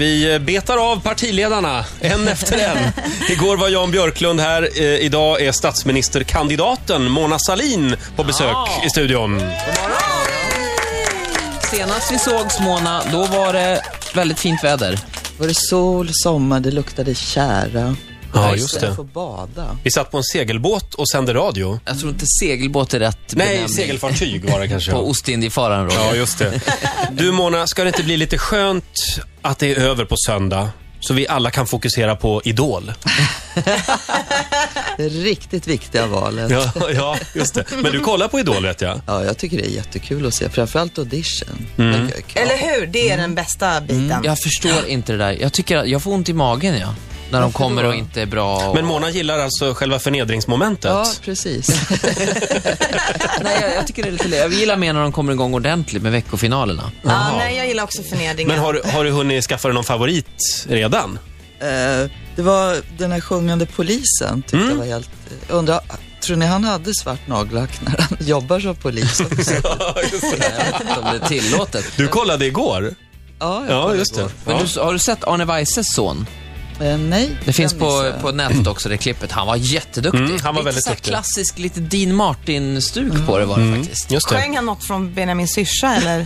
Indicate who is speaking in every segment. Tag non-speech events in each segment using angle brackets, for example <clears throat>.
Speaker 1: Vi eh, betar av partiledarna, en efter en. Igår var Jan Björklund här, eh, idag är statsministerkandidaten Mona Salin på besök
Speaker 2: Ja.
Speaker 1: i studion.
Speaker 2: Senast vi sågs Mona, då var det väldigt fint väder.
Speaker 3: var det sol, sommar, det luktade tjära.
Speaker 1: Ja, just
Speaker 3: Jag
Speaker 1: det.
Speaker 3: får bada.
Speaker 1: Vi satt på en segelbåt och sände radio.
Speaker 2: Jag tror inte segelbåt är rätt
Speaker 1: Nej,
Speaker 2: benämning
Speaker 1: segelfartyg var det kanske.
Speaker 2: <laughs> på Ostindiefararen Roger. Mm.
Speaker 1: Ja, just det. Du Mona, ska det inte bli lite skönt att det är över på söndag? Så vi alla kan fokusera på Idol.
Speaker 3: Det riktigt viktiga valet. Ja.
Speaker 1: Ja, ja just det. Men du kollar på Idol vet jag.
Speaker 3: jag tycker det är jättekul att se. Framförallt audition. Mm.
Speaker 4: Eller hur? Det är den bästa biten.
Speaker 2: Jag förstår inte det där. Jag tycker att jag får ont i magen ja. När de kommer och inte är bra. Och...
Speaker 1: Men Mona gillar alltså själva förnedringsmomentet.
Speaker 3: Ja, precis.
Speaker 2: <laughs> Nej, jag, jag tycker det är lite Jag gillar mer när de kommer igång ordentligt med veckofinalerna.
Speaker 4: Ja, nej, jag gillar också förnedringen.
Speaker 1: Men har, du- har du hunnit skaffa dig någon favorit redan?
Speaker 3: Eh, det var den här sjungande polisen. Tyckte jag var helt... Jag Undrar, tror ni han hade svart nagellack när han <laughs> jobbar som polis också?
Speaker 2: Jag vet inte om det är tillåtet.
Speaker 1: Du kollade igår?
Speaker 3: Ja, jag
Speaker 1: Ja,
Speaker 3: kollade
Speaker 1: just det.
Speaker 3: igår.
Speaker 2: Men
Speaker 1: Ja.
Speaker 2: du, har du sett Arne Weises son?
Speaker 3: Eh, nej.
Speaker 2: Det finns
Speaker 3: den
Speaker 2: på,
Speaker 3: missade jag.
Speaker 2: på nätet också, det klippet. Han var jätteduktig.
Speaker 1: Mm, han var
Speaker 2: lite
Speaker 1: väldigt
Speaker 2: så här
Speaker 1: duktig. Mm,
Speaker 2: klassisk, lite Dean Martin-stuk på det var det faktiskt.
Speaker 1: Just det.
Speaker 4: Sjöng han något från Benjamin syrsa
Speaker 1: <laughs>
Speaker 4: eller?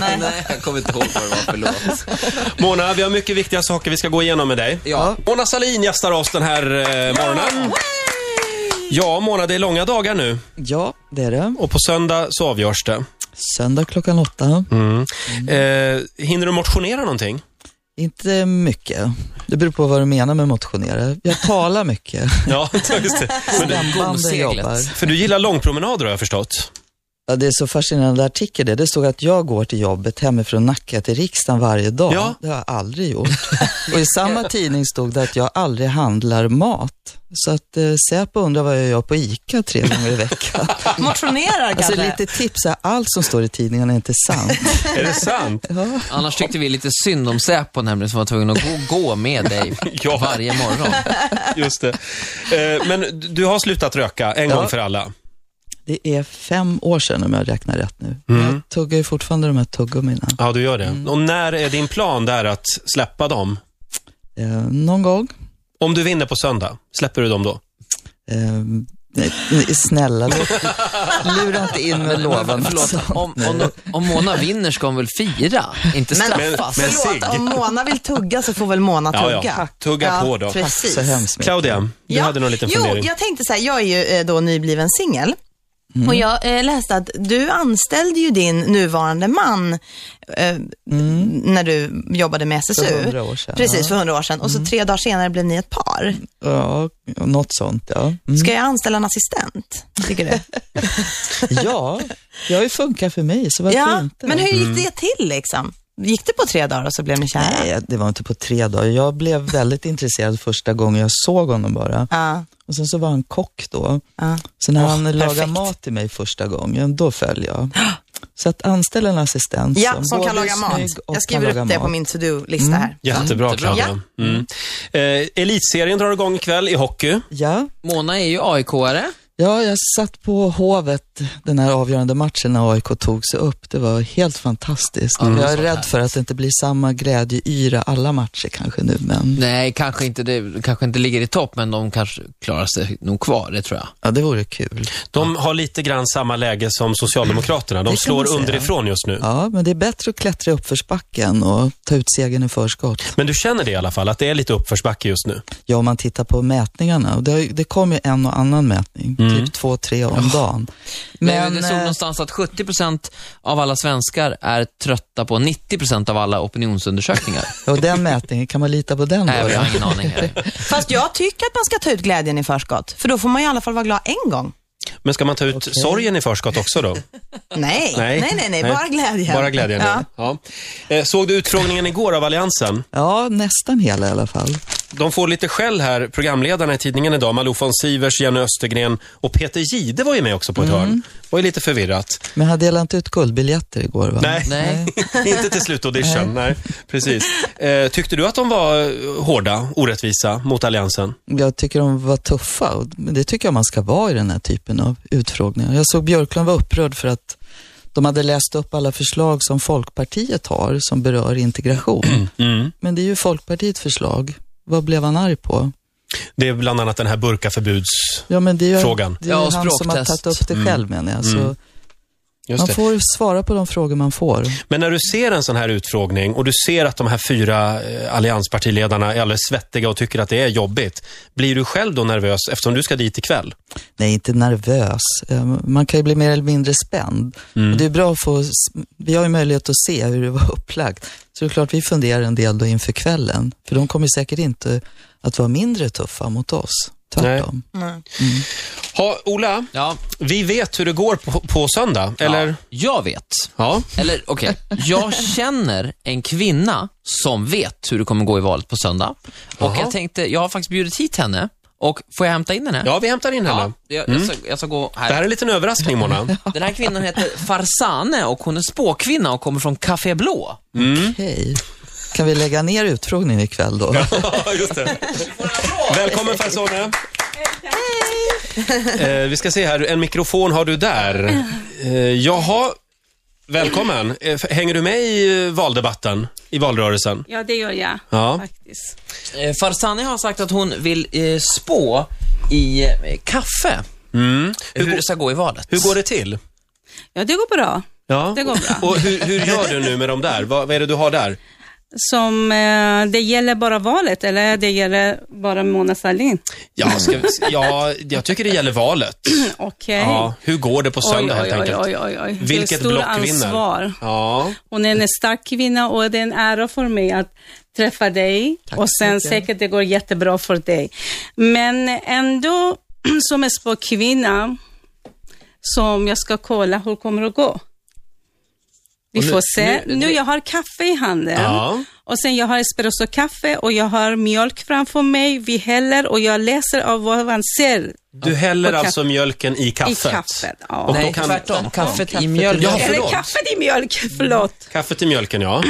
Speaker 4: nej.
Speaker 2: Nej, jag kommer inte ihåg vad det var <laughs> för låt.
Speaker 1: Mona, vi har mycket viktiga saker vi ska gå igenom med dig.
Speaker 2: Ja.
Speaker 1: Mona Salin gästar oss den här eh, morgonen. Ja, Mona, det är långa dagar nu
Speaker 3: Ja, det är det.
Speaker 1: och på söndag så avgörs det. Mm.
Speaker 3: Söndag klockan åtta.
Speaker 1: Eh, hinner du motionera någonting?
Speaker 3: Inte mycket. Det beror på vad du menar med motionera. Jag talar mycket.
Speaker 1: Ja, just det. <laughs> Men du,
Speaker 3: Stämbanden
Speaker 2: Gomseglet.
Speaker 3: jobbar.
Speaker 1: för du gillar långpromenader har jag förstått.
Speaker 3: Ja, det är så fascinerande artikel det. Det stod att jag går till jobbet hemifrån Nacka till riksdagen varje dag.
Speaker 1: Ja.
Speaker 3: Det har jag aldrig gjort. Och i
Speaker 1: <laughs>
Speaker 3: samma tidning stod det att jag aldrig handlar mat. Så att eh, Säpo undrar vad jag gör på ICA tre gånger i
Speaker 1: <laughs>
Speaker 3: veckan.
Speaker 4: <laughs> Motionerar kanske?
Speaker 3: Alltså lite tips är allt som står i tidningen är inte sant.
Speaker 1: <laughs> Är det sant?
Speaker 2: Annars tyckte vi lite synd om Säpo nämligen som var tvungen att gå, gå med <laughs> dig
Speaker 1: Ja.
Speaker 2: varje morgon.
Speaker 1: Just det. Eh, men du har slutat röka en gång för alla.
Speaker 3: Det är fem år sedan om jag räknar rätt nu.
Speaker 1: Mm.
Speaker 3: Jag tuggar ju fortfarande de här tuggummina.
Speaker 1: Ja, du gör det.
Speaker 3: Mm.
Speaker 1: Och när är din plan där att släppa dem?
Speaker 3: Eh, någon gång.
Speaker 1: Om du vinner på söndag, släpper du dem då?
Speaker 3: Eh, nej, nej, snälla, låt- lura inte in med lovande
Speaker 2: Förlåt,
Speaker 3: sånt
Speaker 2: om,
Speaker 3: nu.
Speaker 2: om, om Mona vinner ska hon väl fira, inte straffas?
Speaker 1: men-
Speaker 4: Förlåt,
Speaker 1: Sig.
Speaker 4: om Mona vill tugga så får väl Mona
Speaker 1: Ja, ja.
Speaker 4: tugga.
Speaker 1: Tugga på då.
Speaker 4: Precis.
Speaker 3: Så hemskt mycket.
Speaker 1: Claudia, du hade någon liten
Speaker 4: jo,
Speaker 1: fundering.
Speaker 4: jag tänkte så här, jag är ju eh, då nybliven singel.
Speaker 3: Mm.
Speaker 4: Och jag eh, läste att du anställde ju din nuvarande man eh, när du jobbade med SSU.
Speaker 3: Mm. För 100 år sedan,
Speaker 4: Precis,
Speaker 3: ja. Mm.
Speaker 4: för hundra år sedan. Och så tre dagar senare blev ni ett par.
Speaker 3: Ja, något sånt ja. Mm.
Speaker 4: Ska jag anställa en assistent,
Speaker 3: <laughs>
Speaker 4: tycker du?
Speaker 3: Ja, det har ju funkat för mig, så varför
Speaker 4: ja,
Speaker 3: inte?
Speaker 4: men hur gick det till liksom? Gick det på tre dagar och så blev ni kära?
Speaker 3: Nej, det var inte på tre dagar. Jag blev väldigt intresserad första gången jag såg honom bara.
Speaker 4: Ja,
Speaker 3: Och sen så var han kock då.
Speaker 4: ja.
Speaker 3: Så när
Speaker 4: Åh,
Speaker 3: han lagade
Speaker 4: perfekt.
Speaker 3: mat till mig första gången, då föll jag. Så att anställa en assistent
Speaker 4: ja som
Speaker 3: Alltså, både
Speaker 4: kan
Speaker 3: är
Speaker 4: laga mat.
Speaker 3: snygg och
Speaker 4: Jag skriver
Speaker 3: kan
Speaker 4: upp
Speaker 3: laga
Speaker 4: det på
Speaker 3: mat.
Speaker 4: min to-do-lista här.
Speaker 1: Jättebra,
Speaker 2: Jättebra.
Speaker 1: Claudia. Mm. Eh, elitserien drar igång ikväll i hockey.
Speaker 3: Ja.
Speaker 2: Mona är ju AIK-are.
Speaker 3: Ja, jag satt på Hovet den här avgörande matchen när AIK tog sig upp. Det var helt fantastiskt. jag är rädd för att det inte blir samma glädjeyra alla matcher kanske nu, men
Speaker 2: Nej, kanske inte, det, kanske inte ligger i topp, men de kanske klarar sig nog kvar, det tror jag.
Speaker 3: ja, det vore kul.
Speaker 1: De har lite grann samma läge som Socialdemokraterna. De
Speaker 3: kan man
Speaker 1: slår
Speaker 3: säga.
Speaker 1: underifrån just nu.
Speaker 3: Ja, men det är bättre att klättra i uppförsbacken och ta ut segern i förskott.
Speaker 1: Men du känner det i alla fall, att det är lite uppförsbacke just nu?
Speaker 3: Ja, om man tittar på mätningarna. Och Det, har ju- det kom ju en och annan mätning, typ två, tre om dagen.
Speaker 2: Men,
Speaker 3: Men,
Speaker 2: det stod
Speaker 3: eh,
Speaker 2: någonstans att 70% av alla svenskar är trötta på 90% av alla <laughs> opinionsundersökningar.
Speaker 3: och den mätningen, kan man lita på den då?
Speaker 2: Nej, jag
Speaker 3: då?
Speaker 2: har ingen aning. Här.
Speaker 4: Fast jag tycker att man ska ta ut glädjen i förskott. För då får man i alla fall vara glad en gång.
Speaker 1: Men ska man ta ut sorgen i förskott också då?
Speaker 4: Nej, nej, nej, nej, bara glädjen.
Speaker 1: Bara glädjen, ja.
Speaker 4: Ja.
Speaker 1: Ja. Eh, Såg du utfrågningen igår av Alliansen?
Speaker 3: Ja, nästan hela i alla fall.
Speaker 1: De får lite skäll här, programledarna i tidningen idag. Malou von Sivers, Jenny Östergren och Peter Gide var ju med också på ett hörn. var ju lite förvirrat.
Speaker 3: Men jag delade inte ut guldbiljetter igår, va?
Speaker 1: Nej,
Speaker 2: Nej.
Speaker 1: <laughs> inte till slutaudition. Nej. Precis. Eh, tyckte du att de var eh, hårda, orättvisa mot Alliansen?
Speaker 3: Jag tycker de var tuffa och det tycker jag man ska vara i den här typen av utfrågningar. Jag såg Björklund var upprörd för att de hade läst upp alla förslag som Folkpartiet har som berör integration.
Speaker 1: Mm.
Speaker 3: Men det är ju Folkpartiets förslag. Vad blev han arg på?
Speaker 1: Det är bland annat den här burkaförbuds...
Speaker 3: Ja, men det är ju,
Speaker 1: Frågan. Mm.
Speaker 3: Det är
Speaker 2: Ja,
Speaker 3: ju
Speaker 2: och
Speaker 3: han som har
Speaker 2: språktest.
Speaker 3: tagit upp det själv menar jag. Så
Speaker 1: Just
Speaker 3: Man
Speaker 1: det.
Speaker 3: får svara på de frågor man får.
Speaker 1: Men när du ser en sån här utfrågning och du ser att de här fyra eh, allianspartiledarna är alldeles svettiga och tycker att det är jobbigt. Blir du själv då nervös eftersom du ska dit ikväll?
Speaker 3: Nej, inte nervös. Eh, Man kan ju bli mer eller mindre spänd. Och Det är bra att få, s- vi har ju möjlighet att se hur det var <laughs> upplagt. Så det är klart vi funderar en del då inför kvällen. För de kommer säkert inte att vara mindre tuffa mot oss. Tvärtom.
Speaker 1: Ha, Ola,
Speaker 2: Ja,
Speaker 1: vi vet hur det går på, på söndag, eller?
Speaker 2: Ja, jag vet.
Speaker 1: Ja.
Speaker 2: Eller okej,
Speaker 1: <laughs>
Speaker 2: jag känner en kvinna som vet hur det kommer gå i valet på söndag. Och
Speaker 1: Jaha.
Speaker 2: jag tänkte, jag har faktiskt bjudit hit henne. Och får jag hämta in henne?
Speaker 1: Ja, Mm. vi hämtar in henne.
Speaker 2: Ja, jag, jag, ska, jag ska gå
Speaker 1: Det här
Speaker 2: här.
Speaker 1: är en liten överraskning, Mona.
Speaker 2: Den här kvinnan heter Farsane och hon är spåkvinna och kommer från Café Blå.
Speaker 3: Okej. Kan vi lägga ner utfrågningen ikväll då?
Speaker 1: Ja, <laughs> Just det. Välkommen Farsone. Eh, vi ska se här, en mikrofon har du där. Eh, jaha, välkommen. Eh, f- hänger du med i eh, valdebatten, i valrörelsen?
Speaker 5: Ja, det gör jag
Speaker 1: Ja.
Speaker 5: faktiskt.
Speaker 2: Eh, Farsane har sagt att hon vill eh, spå i eh, kaffe.
Speaker 1: Mm.
Speaker 2: Hur, det ska gå i valet.
Speaker 1: Hur går det till?
Speaker 5: Ja, det går bra.
Speaker 1: Ja.
Speaker 5: Det går
Speaker 1: <laughs>
Speaker 5: bra.
Speaker 1: Och hur, hur gör du nu med de där? Vad, vad är det du har där?
Speaker 5: Som, eh, det gäller bara valet eller det gäller bara Mona Sahlin? <clears throat>
Speaker 1: Ja, ska, vi- ja, jag tycker det gäller valet.
Speaker 5: Okej.
Speaker 1: Ja, hur går det på
Speaker 5: Oj,
Speaker 1: söndag helt
Speaker 5: oj, oj,
Speaker 1: enkelt?
Speaker 5: oj, oj, oj. Det är
Speaker 1: Vilket
Speaker 5: stor
Speaker 1: block vinner?
Speaker 5: ansvar.
Speaker 1: Ja.
Speaker 5: Hon är en stark kvinna och det är en ära för mig att träffa dig och sen säkert det går jättebra för dig. Men ändå <clears throat> som en spåkvinna som jag ska kolla hur kommer det gå. Vi
Speaker 1: Och nu-
Speaker 5: får se.
Speaker 1: nu-
Speaker 5: Nu, jag har kaffe i handen
Speaker 1: Ja.
Speaker 5: och sen jag har espressokaffe och jag har mjölk framför mig. Vi häller och jag läser av vad man ser
Speaker 1: Du häller
Speaker 5: Och kaffe.
Speaker 1: alltså mjölken i kaffet?
Speaker 5: i kaffet. Ja.
Speaker 1: Och då
Speaker 2: Nej,
Speaker 1: kan-
Speaker 2: tvärtom. Kaffet i mjölk.
Speaker 1: Ja,
Speaker 5: Eller
Speaker 1: förlåt.
Speaker 5: kaffet i mjölk, <laughs> förlåt.
Speaker 1: Kaffet i mjölken, ja.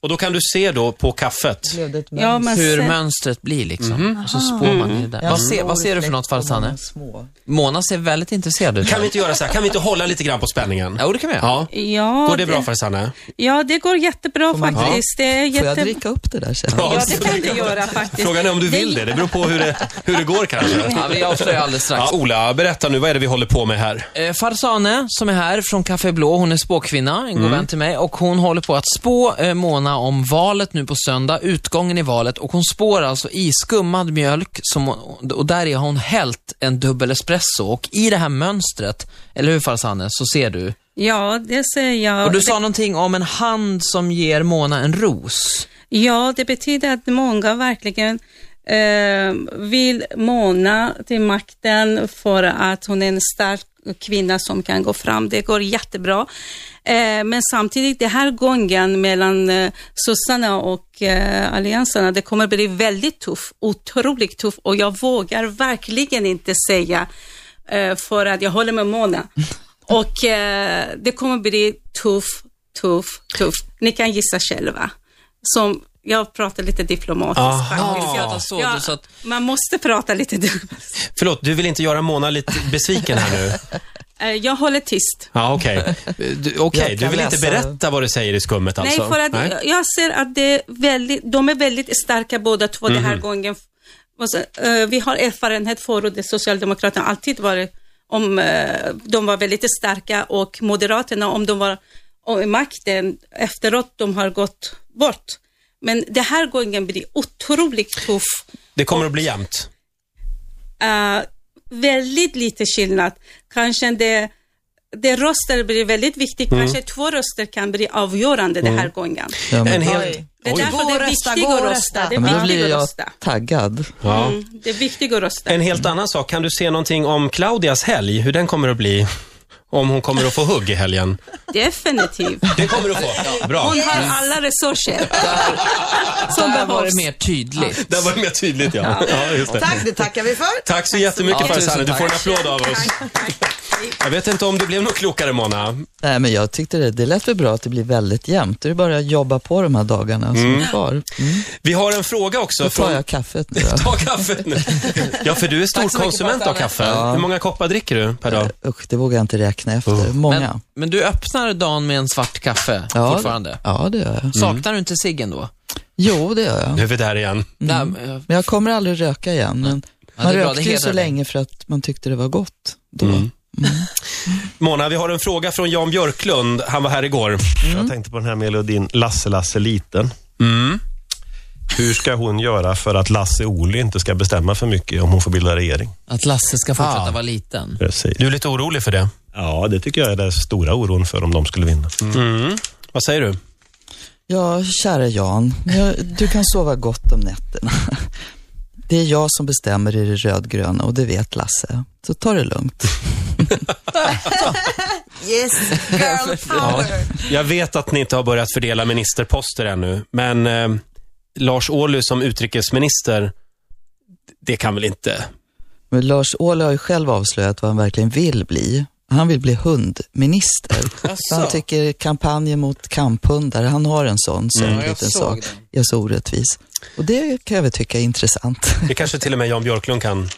Speaker 1: Och då kan du se då på kaffet.
Speaker 3: Blev det ett
Speaker 5: Ja, men
Speaker 2: hur
Speaker 5: sen-
Speaker 2: mönstret blir liksom.
Speaker 1: Mhm.
Speaker 2: Och så spår man
Speaker 1: Mm.
Speaker 2: i det där. Vad, ser, vad ser du för något Farsane?
Speaker 3: Små.
Speaker 2: Mona ser väldigt intresserad ut.
Speaker 1: Kan vi inte göra så här? Kan vi inte hålla lite grann på spänningen?
Speaker 2: Jo, det kan vi göra.
Speaker 1: Ja.
Speaker 5: Ja,
Speaker 1: Går det bra Farsanne?
Speaker 5: Ja, det går jättebra faktiskt. Det är
Speaker 3: Får jag
Speaker 5: jätte...
Speaker 3: dricka upp det där sen?
Speaker 5: Ja, det kan du göra
Speaker 1: <laughs>
Speaker 5: faktiskt.
Speaker 1: Frågan är om du vill det. Det beror på hur det, hur det går kanske.
Speaker 2: Ja, vi avslöjar alldeles strax.
Speaker 1: Ja, Ola, berätta nu. Vad är det vi håller på med här?
Speaker 2: Eh, Farsane, som är här från Café Blå, hon är spåkvinna, en god vän till mig, och hon håller på att spå eh, Mona om valet nu på söndag, utgången i valet, och hon spår alltså i skummad mjölk, som hon, och där i har hon hällt en dubbel espresso, och i det här mönstret, eller hur Farsane, så ser du.
Speaker 5: Ja, det säger jag.
Speaker 2: Och du sa någonting om en hand som ger Mona en ros.
Speaker 5: Ja, det betyder att många verkligen eh, vill måna till makten för att hon är en stark kvinna som kan gå fram. Det går jättebra. Eh, men samtidigt, den här gången mellan eh, sossarna och eh, allianserna, det kommer bli väldigt tuff, otroligt tuff och jag vågar verkligen inte säga eh, för att jag håller med Mona. Och eh, det kommer bli tuff, tuff, tuff. Ni kan gissa själva. Som, jag pratar lite diplomatiskt
Speaker 1: Aha.
Speaker 5: faktiskt.
Speaker 2: Ja, jag såg det, så att-
Speaker 5: Man måste prata lite diplomatiskt.
Speaker 1: Förlåt, du vill inte göra Mona lite besviken här nu?
Speaker 5: Eh, jag håller tyst.
Speaker 1: Ja, okej. Du, okej,
Speaker 3: Jag
Speaker 1: du
Speaker 3: kan
Speaker 1: vill inte
Speaker 3: läsa.
Speaker 1: berätta vad du säger i skummet alltså?
Speaker 5: Nej, för att
Speaker 1: Nej.
Speaker 5: jag ser att det är väldigt, de är väldigt starka båda två den här
Speaker 1: Mhm.
Speaker 5: gången. Och så, eh, Vi har erfarenhet förut, det Socialdemokraterna alltid varit, om eh, de var väldigt starka och Moderaterna, om de var och i makten efteråt, de har gått bort. Men den här gången blir otroligt tuff.
Speaker 1: Det kommer att bli jämnt.
Speaker 5: Eh, väldigt lite skillnad. Kanske det, det röster blir väldigt viktigt, kanske två röster kan bli avgörande den här gången.
Speaker 3: Ja,
Speaker 1: En
Speaker 3: men,
Speaker 1: hel...
Speaker 3: Mm. Oj.
Speaker 5: Det är
Speaker 1: Oj.
Speaker 5: därför
Speaker 6: Gå
Speaker 5: det
Speaker 6: och
Speaker 5: är
Speaker 6: rösta,
Speaker 5: viktigt
Speaker 6: gå och
Speaker 5: att
Speaker 6: rösta.
Speaker 5: rösta. Det
Speaker 3: Ja,
Speaker 5: är
Speaker 3: men då
Speaker 5: viktigt
Speaker 3: blir
Speaker 5: att
Speaker 3: jag
Speaker 5: rösta.
Speaker 3: taggad.
Speaker 1: Ja.
Speaker 5: Mm, Det är viktigt att rösta.
Speaker 1: En helt annan sak. Kan du se någonting om Claudias helg? Hur den kommer att bli? Om hon kommer att få hugg i helgen?
Speaker 5: Definitivt.
Speaker 1: Det kommer du att få. Bra.
Speaker 5: Hon har alla resurser som
Speaker 2: Där var
Speaker 5: behövs.
Speaker 2: det mer tydligt.
Speaker 1: Där var det mer tydligt, ja. ja just det.
Speaker 6: Tack, det tackar vi för.
Speaker 1: Tack så jättemycket
Speaker 2: mycket.
Speaker 1: Farzaneh. Du får en applåd av oss. Jag vet inte om du blev något klokare, Mona.
Speaker 3: Nej, men jag tyckte det, det lät väl bra att det blir väldigt jämnt. Det är bara att jobba på de här dagarna som är kvar. Mm.
Speaker 1: Vi har en fråga också.
Speaker 3: Då tar
Speaker 1: från-
Speaker 3: jag kaffet nu då.
Speaker 1: Ta kaffet nu. Ja, för du är stor
Speaker 2: Tack så mycket,
Speaker 1: konsument av
Speaker 2: Patrik.
Speaker 1: kaffe.
Speaker 3: Ja.
Speaker 1: Hur många koppar dricker du per dag?
Speaker 3: Usch, det vågar jag inte räkna efter. Många.
Speaker 2: Men, men du öppnar dagen med en svart kaffe
Speaker 3: ja, Mm.
Speaker 2: fortfarande.
Speaker 3: Ja, det gör jag.
Speaker 2: Saknar du inte ciggen då?
Speaker 3: Jo, det gör jag.
Speaker 1: Nu är vi där igen.
Speaker 2: Där, eh,
Speaker 3: Men jag kommer aldrig röka igen. Men
Speaker 2: det
Speaker 3: man
Speaker 2: är bra, det
Speaker 3: rökte ju
Speaker 2: hedrar
Speaker 3: så
Speaker 2: dig.
Speaker 3: länge för att man tyckte det var gott då.
Speaker 1: Mona, vi har en fråga från Jan Björklund. Han var här igår.
Speaker 6: Jag tänkte på den här melodin Lasse Lasse liten.
Speaker 1: Mm.
Speaker 6: Hur ska hon göra för att Lasse Ohly inte ska bestämma för mycket om hon får bilda regering?
Speaker 2: Att Lasse ska fortsätta
Speaker 1: Ah.
Speaker 2: vara liten.
Speaker 6: Precis.
Speaker 1: Du är lite orolig för det.
Speaker 6: Ja, det tycker jag är den stora oron för om de skulle vinna.
Speaker 1: Mm. Vad säger du?
Speaker 3: Ja, kära Jan, jag, du kan sova gott om nätterna. <laughs> Det är jag som bestämmer i det rödgröna och det vet Lasse. Så ta det lugnt.
Speaker 4: Yes, girl power.
Speaker 1: Jag vet att ni inte har börjat fördela ministerposter ännu, men eh, Lars Ohly som utrikesminister, det kan väl inte...
Speaker 3: Men Lars Ohly har ju själv avslöjat vad han verkligen vill bli. Han vill bli hundminister. Så han tycker kampanjen mot kamphundar, han har en sån, sån
Speaker 2: Mm. jag
Speaker 3: liten
Speaker 2: såg
Speaker 3: sak.
Speaker 2: den.
Speaker 3: Jag är så orättvis. Och det kan jag väl tycka är intressant. <laughs>
Speaker 1: Det kanske till och med Jan Björklund kan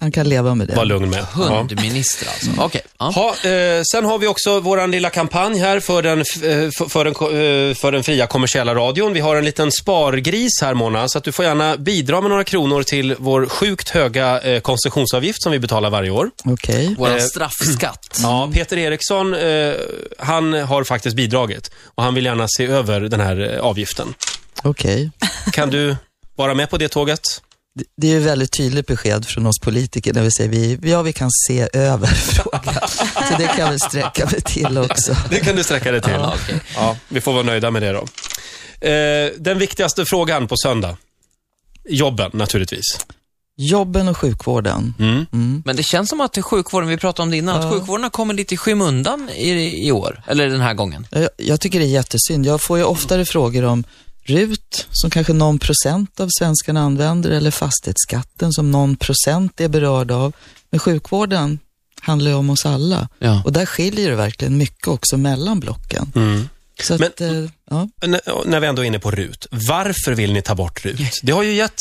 Speaker 3: Han kan leva med det.
Speaker 1: vara lugn med. Ja.
Speaker 2: Hundminister alltså. Okej. Ja.
Speaker 1: Ha, eh, sen har vi också vår lilla kampanj här för den, f- eh, f- för, den, ko- eh, för den fria kommersiella radion. Vi har en liten spargris här Mona, så att du får gärna bidra med några kronor till vår sjukt höga eh, koncessionsavgift som vi betalar varje år.
Speaker 3: Okej.
Speaker 2: Våran
Speaker 1: Eh,
Speaker 2: straffskatt.
Speaker 1: Ja, Peter Eriksson, eh, han har faktiskt bidragit och han vill gärna se över den här eh, avgiften.
Speaker 3: Okej.
Speaker 1: Kan du vara med på det tåget?
Speaker 3: Det- Det är ju väldigt tydligt besked från oss politiker när vi säger vi, ja, vi kan se över <laughs> frågan. Så det kan jag väl sträcka mig till också.
Speaker 1: Det kan du sträcka dig till. Ja, vi får vara nöjda med det då. Eh, den viktigaste frågan på söndag. Jobben naturligtvis.
Speaker 3: Jobben och sjukvården.
Speaker 1: Mm.
Speaker 2: Men det känns som att sjukvården, vi pratade om det innan, att sjukvården har kommit lite i skymundan i, i år. Eller den här gången.
Speaker 3: Jag, jag tycker det är jättesynd. Jag får ju oftare frågor om RUT, som kanske någon procent av svenskarna använder, eller fastighetsskatten som någon procent är berörd av. Men sjukvården handlar ju om oss alla.
Speaker 2: Ja.
Speaker 3: Och där skiljer det verkligen mycket också mellan blocken. Så att,
Speaker 1: Men-
Speaker 3: eh, ja.
Speaker 1: N- när vi ändå är inne på RUT. Varför vill ni ta bort RUT? Det har ju gett,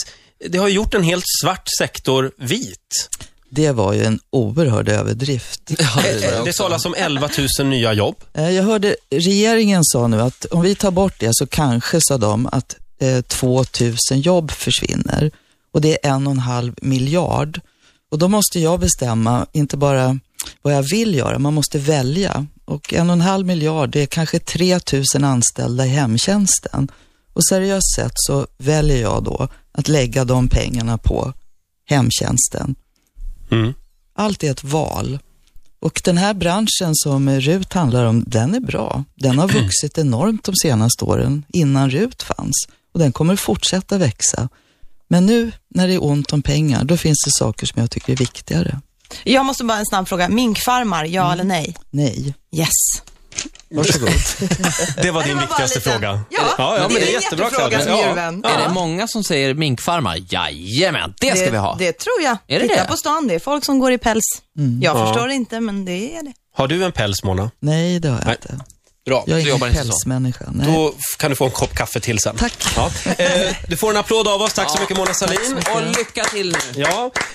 Speaker 1: det har gjort en helt svart sektor vit.
Speaker 3: Det var ju en oerhörd överdrift.
Speaker 1: Eh, Det talas om 11 000 nya jobb.
Speaker 3: Eh, Jag hörde regeringen sa nu att om vi tar bort det så kanske, sa de, att eh, 2000 jobb försvinner. Och det är en och en halv miljard. Och då måste jag bestämma, inte bara vad jag vill göra, man måste välja. Och en och en halv miljard, det är kanske 3000 anställda i hemtjänsten. Och seriöst sett så väljer jag då att lägga de pengarna på hemtjänsten.
Speaker 1: Mm.
Speaker 3: Allt är ett val. Och den här branschen som RUT handlar om, den är bra. Den har vuxit enormt de senaste åren, innan RUT fanns. Och den kommer fortsätta växa. Men nu när det är ont om pengar, då finns det saker som jag tycker är viktigare.
Speaker 4: Jag måste bara en snabb fråga. Minkfarmar, ja eller nej?
Speaker 3: Nej.
Speaker 4: Yes.
Speaker 1: <laughs> Det var din
Speaker 4: var bara
Speaker 1: viktigaste
Speaker 4: lite-
Speaker 1: fråga.
Speaker 4: Ja,
Speaker 1: ja, men det är
Speaker 4: en
Speaker 1: jättebra
Speaker 4: jättefråga
Speaker 1: Claudia.
Speaker 4: som djurvän.
Speaker 1: Ja.
Speaker 2: Är det
Speaker 1: Ja.
Speaker 2: många som säger minkfarmar? Jajamän, det ska vi ha.
Speaker 4: Det tror jag.
Speaker 2: Är det
Speaker 4: Titta
Speaker 2: det? Mm.
Speaker 4: på stan, det är folk som går i päls. Jag förstår inte, men det är det.
Speaker 1: Har du en päls, Mona?
Speaker 3: Nej, det har jag
Speaker 1: Nej.
Speaker 3: inte.
Speaker 1: Bra.
Speaker 3: Jag är
Speaker 2: du
Speaker 3: ingen
Speaker 2: jobbar inte så.
Speaker 3: pälsmänniska. Nej.
Speaker 1: Då f- kan du få en kopp kaffe till sen.
Speaker 3: Tack.
Speaker 1: Ja. Eh, du får en applåd av oss. Tack så mycket, Mona Sahlin.
Speaker 2: Och lycka till nu.
Speaker 1: Ja.